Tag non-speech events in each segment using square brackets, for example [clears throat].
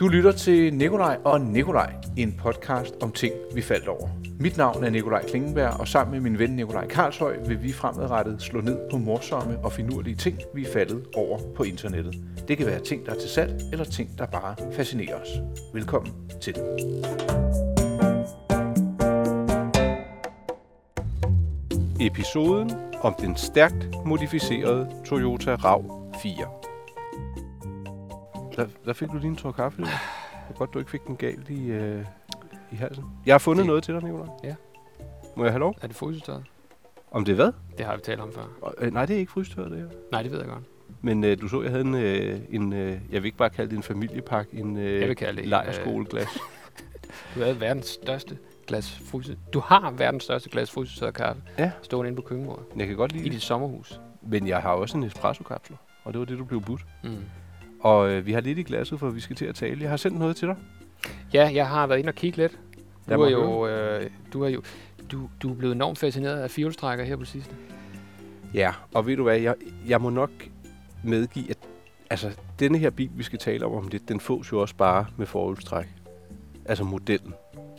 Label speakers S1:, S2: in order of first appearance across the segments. S1: Du lytter til Nikolaj og Nikolaj, en podcast om ting, vi faldt over. Mit navn er Nikolaj Klingenberg, og sammen med min ven Nikolaj Karlshøj vil vi fremadrettet slå ned på morsomme og finurlige ting, vi er faldet over på internettet. Det kan være ting, der er til salg, eller ting, der bare fascinerer os. Velkommen til. Episoden om den stærkt modificerede Toyota RAV 4. Der, der fik du lige en tår kaffe. Det var godt, du ikke fik den galt i, øh, i halsen. Jeg har fundet det...
S2: Det-
S1: noget til dig, Nicolaj.
S2: Ja.
S1: Må jeg have lov?
S2: Er det frysestøjet?
S1: Om det er hvad?
S2: Det har vi talt om før.
S1: Øh, nej, det er ikke frystøjet, det her.
S2: Nej, det ved jeg godt.
S1: Men øh, du så, jeg havde en, øh, en øh, jeg vil ikke bare kalde det en familiepakke, en øh,
S2: Jeg vil kalde det en,
S1: lejerskoleglas.
S2: Du havde verdens største glas fryse. Du har verdens største glas frysestøjet kaffe.
S1: Ja.
S2: Stående inde på køkkenbordet.
S1: jeg kan godt
S2: I
S1: lide det.
S2: dit sommerhus.
S1: Men jeg har også en espresso-kapsel, og det var det, du blev budt.
S2: Mm.
S1: Og øh, vi har lidt i glasset, for vi skal til at tale. Jeg har sendt noget til dig.
S2: Ja, jeg har været inde og kigge lidt.
S1: Lad
S2: Du er
S1: mig
S2: jo, øh, du er jo du, du er blevet enormt fascineret af firehjulstrækker her på det sidste.
S1: Ja, og ved du hvad, jeg, jeg må nok medgive, at altså, denne her bil, vi skal tale om om lidt, den fås jo også bare med forhjulstræk. Altså modellen.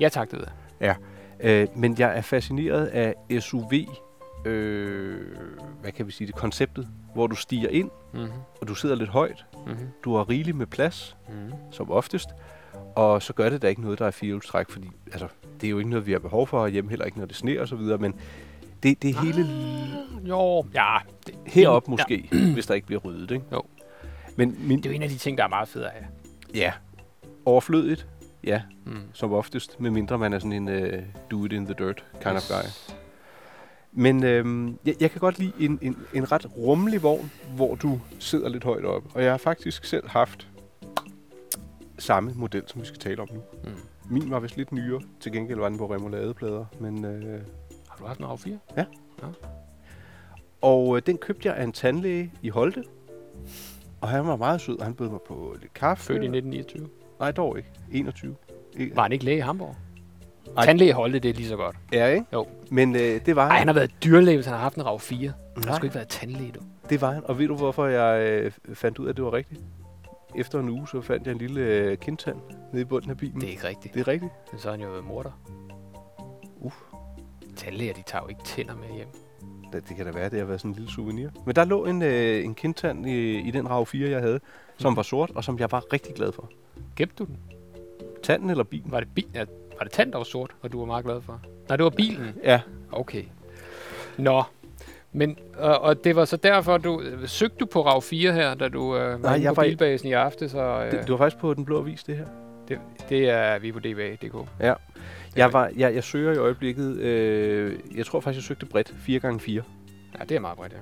S2: Ja tak, det ved jeg.
S1: Øh, men jeg er fascineret af SUV, øh, hvad kan vi sige det, konceptet, hvor du stiger ind,
S2: Mm-hmm.
S1: og du sidder lidt højt,
S2: Mm-hmm.
S1: du har rigeligt med plads,
S2: Mm-hmm.
S1: som oftest, og så gør det da ikke noget, der er firehjulstræk, fordi altså, det er jo ikke noget, vi har behov for, og hjemme heller ikke, når det sneer og så videre, men det, det er
S2: Ah.
S1: hele
S2: Jo, ja. Det,
S1: Herop
S2: Ja.
S1: måske, [clears throat] hvis der ikke bliver ryddet, ikke?
S2: Jo.
S1: Men min,
S2: Det er jo en af de ting, der er meget federe af.
S1: ja, overflødigt, ja,
S2: Mm.
S1: som oftest, medmindre man er sådan en uh, do it in the dirt kind yes. of guy. Men øhm, jeg, jeg kan godt lide en, en, en ret rummelig vogn, hvor du sidder lidt højt oppe. Og jeg har faktisk selv haft samme model, som vi skal tale om nu.
S2: Mm.
S1: Min var vist lidt nyere, til gengæld var den på remouladeplader, men øh,
S2: Har du haft en A4?
S1: Og øh, den købte jeg af en tandlæge i Holte. Og han var meget sød, og han bød mig på lidt kaffe.
S2: Født i 1929.
S1: Nej, dog ikke. E- 21. Ikke?
S2: Var han ikke læge i Hamburg?
S1: Ej.
S2: Tandlæge holdt det lige så godt.
S1: Ja, ikke?
S2: Jo.
S1: Men øh, det var
S2: Ej, han har været dyrlæge, hvis han har haft en RAV 4. Han har
S1: Nej, Mm.
S2: sgu ikke været tandlæge, du.
S1: det var han. Og ved du, hvorfor jeg øh, fandt ud af, at det var rigtigt? Efter en uge, så fandt jeg en lille øh, kindtand nede i bunden af bilen.
S2: Det er ikke rigtigt.
S1: det Uh. er rigtigt.
S2: Men så har han jo været morder.
S1: Uff.
S2: Tandlæger, de tager jo ikke tænder med hjem.
S1: Da, det kan da være, det har været sådan en lille souvenir. Men der lå en, øh, en kindtand i, i den RAV 4, jeg havde, som
S2: Mhm.
S1: var sort, og som jeg var rigtig glad for.
S2: Gemte du den?
S1: Tanden eller bilen?
S2: Var det, bi- ja, var det tand, der var sort, og du var meget glad for? Nej, det var bilen.
S1: Ja,
S2: Okay. Nå. Men, og, og det var så derfor, du... øh, Søgte du på RAV 4 her, da du øh, var
S1: Nej,
S2: Nej, inde
S1: jeg
S2: på
S1: var i-
S2: bilbasen i aftes? Og, øh,
S1: det,
S2: det,
S1: det var faktisk på Den Blå Avis, det her.
S2: det, det er vi på dba.dk.
S1: Jeg, var, jeg, jeg søger i øjeblikket, øh, jeg tror faktisk, jeg søgte bredt, 4x4.
S2: Ja, det er meget bredt, ja.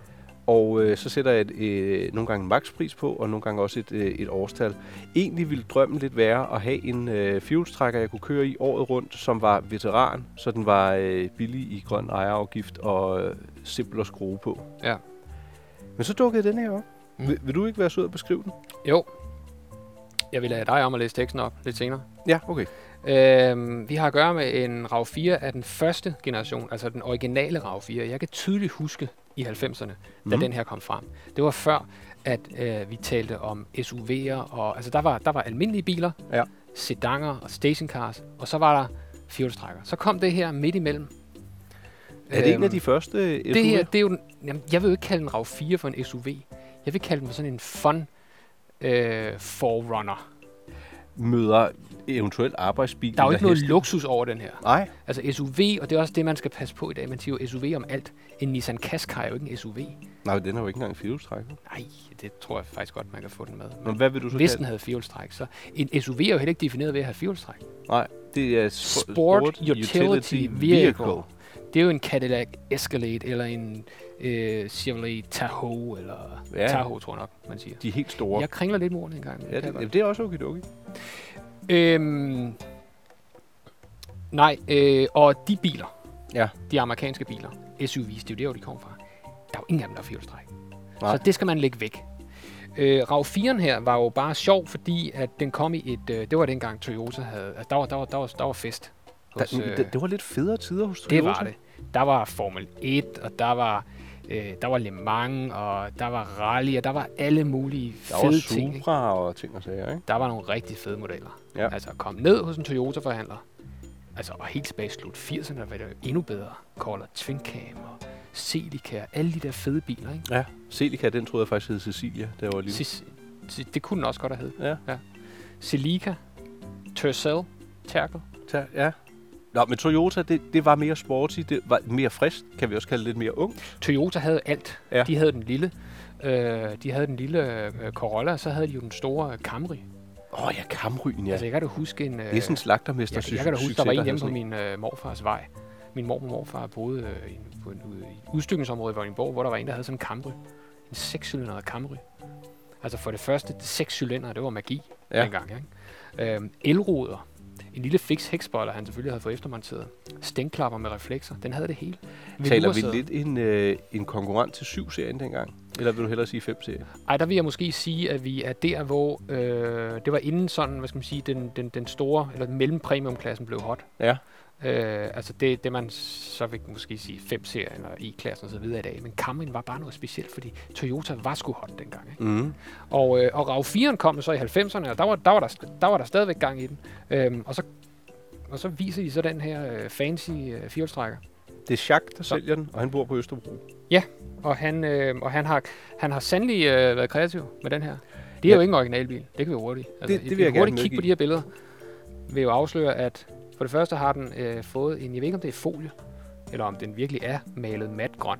S1: Og øh, så sætter jeg et, øh, nogle gange en makspris på, og nogle gange også et, øh, et årstal. Egentlig ville drømmen lidt være at have en øh, fjolstrækker, jeg kunne køre i året rundt, som var veteran, så den var øh, billig i grøn ejerafgift og øh, simpel at skrue på.
S2: Ja.
S1: Men så dukkede den her op.
S2: Mm.
S1: Vil, vil du ikke være sød at beskrive den?
S2: Jo. Jeg vil have dig om at læse teksten op lidt senere.
S1: Ja, okay.
S2: Øhm, vi har at gøre med en RAV 4 af den første generation, altså den originale RAV 4. Jeg kan tydeligt huske i 90'erne, da
S1: Mhm.
S2: den her kom frem. Det var før, at øh, vi talte om SUV'er, og altså der var, der var almindelige biler,
S1: Ja.
S2: sedanger og stationcars, og så var der fjolstrækker. Så kom det her midt imellem. Øhm,
S1: Er det en af de første øh, SUV'er?
S2: øh, det her, det er jo den, jamen, jeg vil jo ikke kalde en RAV 4 for en SUV. Jeg vil kalde den for sådan en fun øh, forerunner.
S1: Møder eventuelt arbejdsbil.
S2: Der er jo
S1: eller
S2: ikke noget
S1: heste?
S2: luksus over den her.
S1: Nej,
S2: Altså SUV, og det er også det, man skal passe på i dag. Man siger jo SUV om alt. En Nissan Qashqai er jo ikke en SUV.
S1: Nej, den har jo ikke engang firehjulstrækker.
S2: Nej, det tror jeg faktisk godt, man kan få den med.
S1: Men
S2: Men
S1: hvad vil du så
S2: hvis den
S1: kalde
S2: havde firehjulstræk, så... En SUV er jo heller ikke defineret ved at have firehjulstræk.
S1: Nej, det er sp-
S2: Sport, Utility, Vehicle. Det er jo en Cadillac Escalade, eller en øh, Chevrolet Tahoe, eller...
S1: Ja.
S2: Ja. Tahoe, tror jeg nok, man siger.
S1: De er helt store.
S2: Jeg kringler lidt med ordene engang.
S1: Ja, det,
S2: kan jeg
S1: jamen, det er også okay, okay.
S2: godt. øhm, nej, øh, og de biler,
S1: Ja.
S2: de amerikanske biler, SUV's, det er jo der, hvor de kommer fra. Der er jo ingen af dem, der har firehjulstræk.
S1: Nej.
S2: Så det skal man lægge væk. Øh, RAV 4'en her var jo bare sjov, fordi at den kom i et... Øh, det var dengang Toyota havde... Altså, der var, der var, der var, der var fest. Hos,
S1: Der,
S2: øh,
S1: det, det var lidt federe tider hos Toyota.
S2: det var det. Der var Formel 1, og der var Øh, der var Le Mans, og der var rally, og der var alle mulige
S1: Der
S2: fede
S1: var
S2: ting. Ikke?
S1: Supra og ting og sager, ikke?
S2: Der var nogle rigtig fede modeller.
S1: Ja.
S2: Altså kom ned hos en Toyota-forhandler, altså, og helt tilbage i slut 80'erne, der var det jo endnu bedre. Caller Twin Cam og Celica, alle de der fede biler, ikke?
S1: Ja.
S3: Celica, den troede jeg faktisk hed Cecilia, da jeg var lille.
S2: Sis- si- det kunne den også godt have heddet.
S1: Ja.
S2: Celica, Tercel, Terkel.
S1: Ta- ja. Nå, men Toyota, det, det var mere sporty, det var mere frisk, kan vi også kalde det lidt mere ung.
S2: Toyota havde alt.
S1: Ja.
S2: De havde den lille, øh, de havde den lille øh, Corolla, og så havde de jo den store Camry.
S1: Åh oh, ja, Kamryen, ja.
S2: Altså, jeg kan da huske en... Øh,
S1: det er sådan en slagtermester
S2: jeg, jeg kan da huske, der var en hjemme på min øh, morfars vej. Min mormor og morfar boede øh, i en, på en, ude, i et udstykningsområde i Vordingborg, hvor der var en, der havde sådan en Camry. En sekscylindret Camry. Altså for det første, seks cylinder, det var magi ja.
S1: Ja.
S2: dengang. Ikke? Øhm, elruder. En lille fix hækspoiler, han selvfølgelig havde fået eftermonteret. Stænklapper med reflekser. Den havde det hele.
S1: Taler
S2: Velursæde.
S1: vi lidt en, øh, en konkurrent til 7-serien dengang? Eller vil du hellere sige 5-serien?
S2: Ej, der vil jeg måske sige, at vi er der, hvor øh, det var inden sådan, hvad skal man sige, den, den, den store, eller mellempremiumklassen blev hot.
S1: Ja.
S2: Øh, altså det, det man så vil måske sige 5-serien eller E-klassen osv. i dag. Men Camryen var bare noget specielt, fordi Toyota var sgu hot dengang. Ikke?
S1: Mm.
S2: Og, øh, og RAV 4'eren kom så i 90'erne, og der var der, var der, st- der, var der stadigvæk gang i den. Øhm, og, så, og så viser de så den her øh, fancy øh, firehjulstrækker.
S1: Det er Jacques, der sælger den, og han bor på Østerbro.
S2: Og, han, øh, og han, har, han har sandelig øh, været kreativ med den her. Det er ja.
S1: Ja.
S2: jo ikke en originalbil. Det kan vi jo hurtigt.
S1: Det- det
S2: et-
S1: vil
S2: et
S1: jeg gerne
S2: hurtigt kig på
S1: medgive.
S2: de her billeder vil jo afsløre, at for det første har den øh, fået en, jeg ved ikke om det er folie, eller om den virkelig er malet matgrøn.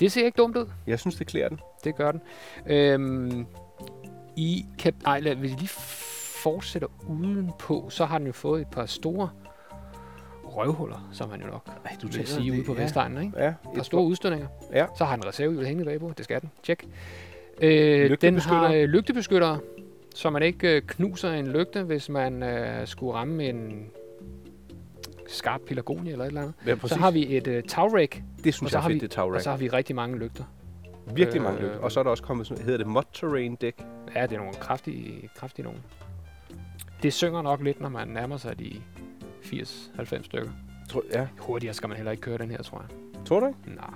S2: Det ser ikke dumt ud.
S1: Jeg synes, det klæder den.
S2: Det gør den. Øhm, I kan, ej, lad, hvis I lige fortsætter udenpå, så har den jo fået et par store røvhuller, som han jo nok
S1: Ej,
S2: du vil sige ude på
S1: ja.
S2: Vestegnen, ikke?
S1: Ja,
S2: par
S1: et
S2: store udstødninger.
S1: Ja.
S2: Så har den reservehjul hængende bagpå. Det skal den. Tjek. Øh, den har øh, lygtebeskyttere, så man ikke øh, knuser en lygte, hvis man øh, skulle ramme en skarp pelagonie eller et eller andet.
S1: Ja,
S2: Præcis.
S1: præcis.
S2: Så har vi et øh, tagræk,
S1: det
S2: og
S1: synes
S2: så
S1: jeg er
S2: har
S1: fedt,
S2: vi-
S1: det tag
S2: og så har vi rigtig mange lygter.
S1: Virkelig mange
S2: øh,
S1: lygter. Og så er der også kommet sådan, hedder det mud terrain dæk?
S2: Ja, det er nogle kraftige, kraftige nogen. Det synger nok lidt, når man nærmer sig de 80-90 stykker.
S1: Tror, ja.
S2: Hurtigere skal man heller ikke køre den her, tror jeg.
S1: Tror du ikke?
S2: Nej,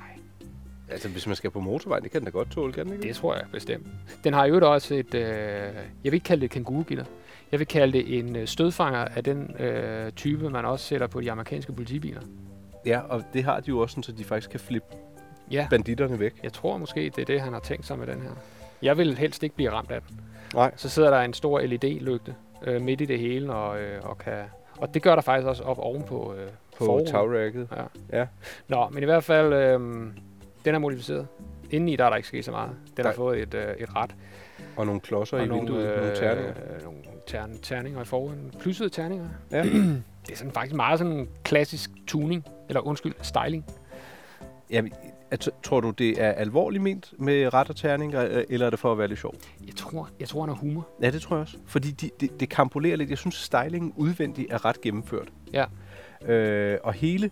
S1: Altså, hvis man skal på motorvejen, det kan den da godt tåle, kan den ikke?
S2: det tror jeg bestemt. Den har i øvrigt også et, øh, jeg vil ikke kalde det et kængurugitter. Jeg vil kalde det en øh, stødfanger af den øh, type, man også sætter på de amerikanske politibiler.
S1: Ja, og det har de jo også, sådan, så de faktisk kan flippe
S2: Ja,
S1: banditterne væk.
S2: jeg tror måske, det er det, han har tænkt sig med den her. Jeg vil helst ikke blive ramt af den.
S1: Nej.
S2: Så sidder der en stor LED-lygte øh, midt i det hele, og, øh, og, kan, og det gør der faktisk også op ovenpå øh,
S1: På
S2: forruden.
S1: tagracket.
S2: Nå, men i hvert fald, øh, den er modificeret. Indeni der er der ikke sket så meget. Den har
S1: Nej.
S2: fået et, øh, et ret.
S1: Og nogle klodser i vinduet, øh, nogle terninger.
S2: Øh, nogle tern, terninger i forhånden. Plyssede terninger.
S1: Ja.
S2: Det er sådan faktisk meget sådan en klassisk tuning, eller undskyld, styling.
S1: [clears throat] Jamen, jeg t- tror du, det er alvorligt ment med ret og terninger, øh, eller er det for at være lidt sjov?
S2: Jeg tror, jeg tror, han har humor.
S1: Ja, det tror jeg også. Fordi de, det, det kampolerer lidt. Jeg synes, stylingen udvendigt er ret gennemført.
S2: Ja.
S1: Øh, og hele...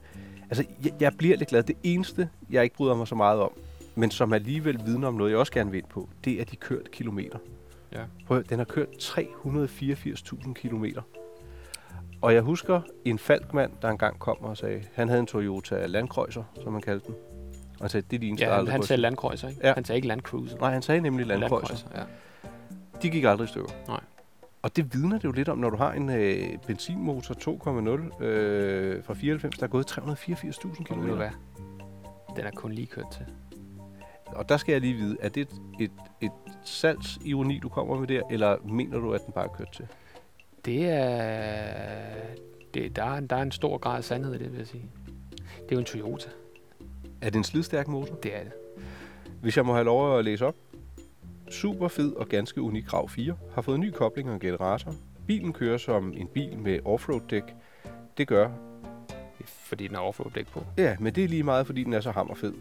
S1: Altså, jeg, jeg bliver lidt glad. Det eneste, jeg ikke bryder mig så meget om, men som alligevel vidner om noget, jeg også gerne vil ind på, det er de kørte kilometer.
S2: Ja.
S1: Prøv, at høre, den har kørt 384.000 kilometer. Og jeg husker en falkmand, der engang kom og sagde, han havde en Toyota Landkreuzer, som man kaldte den. Og han sagde, det er din
S2: Ja, han, han sagde landkrøjser, ikke?
S1: Ja.
S2: Han sagde ikke landcruiser.
S1: Nej, han sagde nemlig Landkreuzer.
S2: ja.
S1: De gik aldrig i stykker.
S2: Nej.
S1: Og det vidner det jo lidt om, når du har en øh, benzinmotor 2,0 øh, fra 94, der er gået 384.000
S2: Og ved du
S1: km.
S2: hvad? Den er kun lige kørt til.
S1: Og der skal jeg lige vide, er det et, et, et salgsironi, du kommer med der, eller mener du, at den bare er kørt til?
S2: Det er... Det, der, er en, der er en stor grad af sandhed i det, vil jeg sige. Det er jo en Toyota.
S1: Er det en slidstærk motor?
S2: Det er det.
S1: Hvis jeg må have lov at læse op. Super fed og ganske unik RAV 4 har fået ny kobling og generator. Bilen kører som en bil med offroad-dæk. Det gør,
S2: Fordi den har overflowdæk på.
S1: Ja, men det er lige meget, fordi den er så
S2: [laughs]
S1: hammerfed.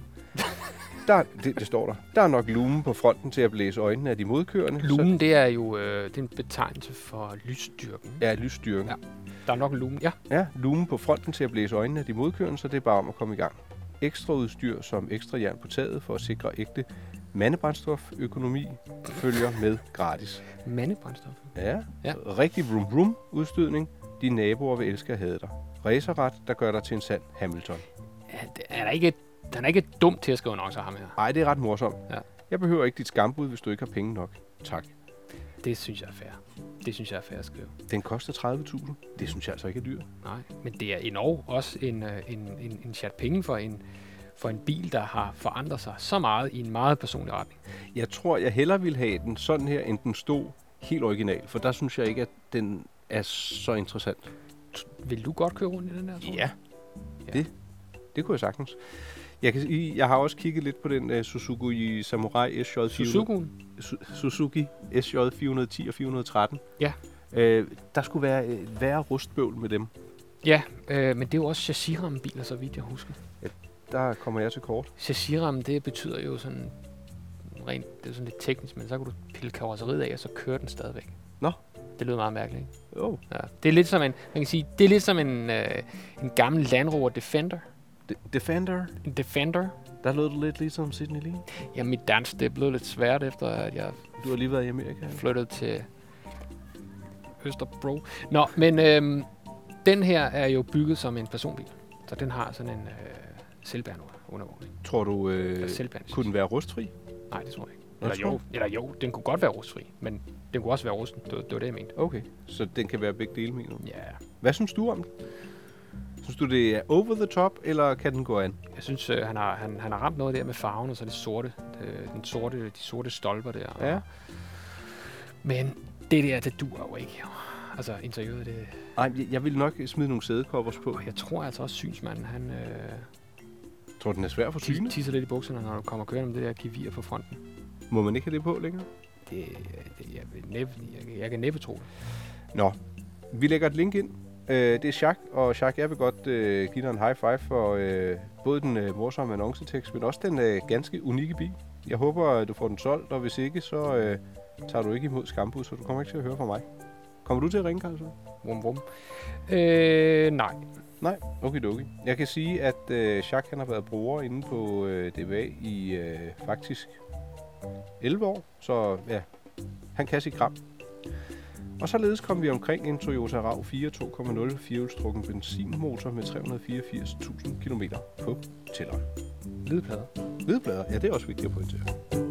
S1: Der, det, det står der. Der er nok lumen på fronten til at blæse øjnene af de modkørende. så-
S2: Lumen, det er jo øh, det er en betegnelse for lysstyrken.
S1: Ja, lysstyring.
S2: Ja. Der er nok en lumen. Ja,
S1: Ja, lumen på fronten til at blæse øjnene af de modkørende, så det er bare om at komme i gang. Ekstra udstyr som ekstra jern på taget for at sikre ægte mandebrændstoføkonomi følger med gratis.
S2: mandebrændstof.
S1: Ja,
S2: Ja.
S1: rigtig vroom vroom udstødning. Dine naboer vil elske at have dig. Racerret, der gør dig til en sand Hamilton.
S2: Er, er der ikke et han er ikke dum til at skrive annoncer, ham her.
S1: Ej, det er ret morsomt.
S2: Ja.
S1: Jeg behøver ikke dit skambud, hvis du ikke har penge nok. Tak.
S2: Det synes jeg er fair. Det synes jeg er fair at skrive.
S1: Den koster 30.000. Det synes jeg altså ikke er dyrt.
S2: Nej, men det er enormt også en, øh, en, en, en chat penge for en, for en bil, der har forandret sig så meget i en meget personlig retning.
S1: Jeg tror, jeg hellere ville have den sådan her, end den stod helt original. For der synes jeg ikke, at den er så interessant.
S2: Vil du godt køre rundt i den der, tror du? Ja.
S1: Det, det kunne jeg sagtens. Jeg, kan, sige, jeg har også kigget lidt på den uh, Suzuki Samurai SJ4.
S2: Suzuki'en?
S1: Su- Suzuki SJ 410 og 413.
S2: Ja.
S1: Øh, der skulle være øh, værre rustbøvl med dem.
S2: Ja, øh, men det er jo også chassisrammebiler, så vidt jeg husker.
S1: Der kommer jeg til kort.
S2: Chassisramme, det betyder jo sådan rent, det er sådan lidt teknisk, men så kan du pille karosseriet af, og så kører den stadigvæk.
S1: Nå.
S2: Det lyder meget mærkeligt, ikke?
S1: Oh.
S2: Ja, det er lidt som en, man kan sige, det er lidt som en, øh, en gammel Land Rover Defender.
S1: De- Defender,
S2: En Defender.
S1: der lød det lidt ligesom Sydney Lee.
S2: Ja, mit dansk, det er blevet lidt svært, efter at jeg
S1: Du har lige været i Amerika.
S2: flyttede til Østerbro. Nå, men øhm, den her er jo bygget som en personbil. Så den har sådan en øh, selvbærende
S1: Tror du, øh,
S2: selvbærende.
S1: kunne den være rustfri?
S2: Nej, det tror jeg ikke.
S1: Nå,
S2: Eller
S1: tror
S2: jo, eller jo, den kunne godt være rustfri, men den kunne også være rusten. Det var, det var det, jeg mente.
S1: Okay, så den kan være begge dele, mener du?
S2: Ja,
S1: Hvad synes du om den? Synes du, det er over the top, eller kan den gå an?
S2: jeg synes, øh, han, har, han, han har ramt noget der med farven, og så det sorte, det, den sorte, de sorte stolper der.
S1: Ja.
S2: Men det der, det dur jo ikke. Altså, interiøret, det,
S1: Ej, jeg, jeg vil nok smide nogle sædekoppers på.
S2: og jeg tror altså også, synsmanden, han øh,
S1: Jeg tror, den er svær for
S2: tis-
S1: syne.
S2: tisser lidt i bukserne, når du kommer kørende med det der gevir på fronten.
S1: Må man ikke have det på længere?
S2: Det, det jeg, vil næppe, jeg, jeg kan næppe tro det.
S1: Nå, vi lægger et link ind. Øh, det er Jacques, og Jacques, jeg vil godt øh, give dig en high five for øh, både den øh, morsomme annoncetekst, men også den øh, ganske unikke bil. Jeg håber, at du får den solgt, og hvis ikke, så øh, tager du ikke imod skambud, så du kommer ikke til at høre fra mig. Kommer du til at ringe, Carl? så?
S2: Vum, vum. Øh, nej.
S1: Nej, okay, okay. Jeg kan sige, at øh, Jacques han har været bruger inde på øh, DBA i øh, faktisk 11 år, så ja, han kan sit kram. Og således kom vi omkring en Toyota RAV 4 2.0 firehjulstrukken benzinmotor med 384.000 km på tælleren.
S2: Hvidplader.
S1: Hvidblader, ja det er også vigtigt at pointere.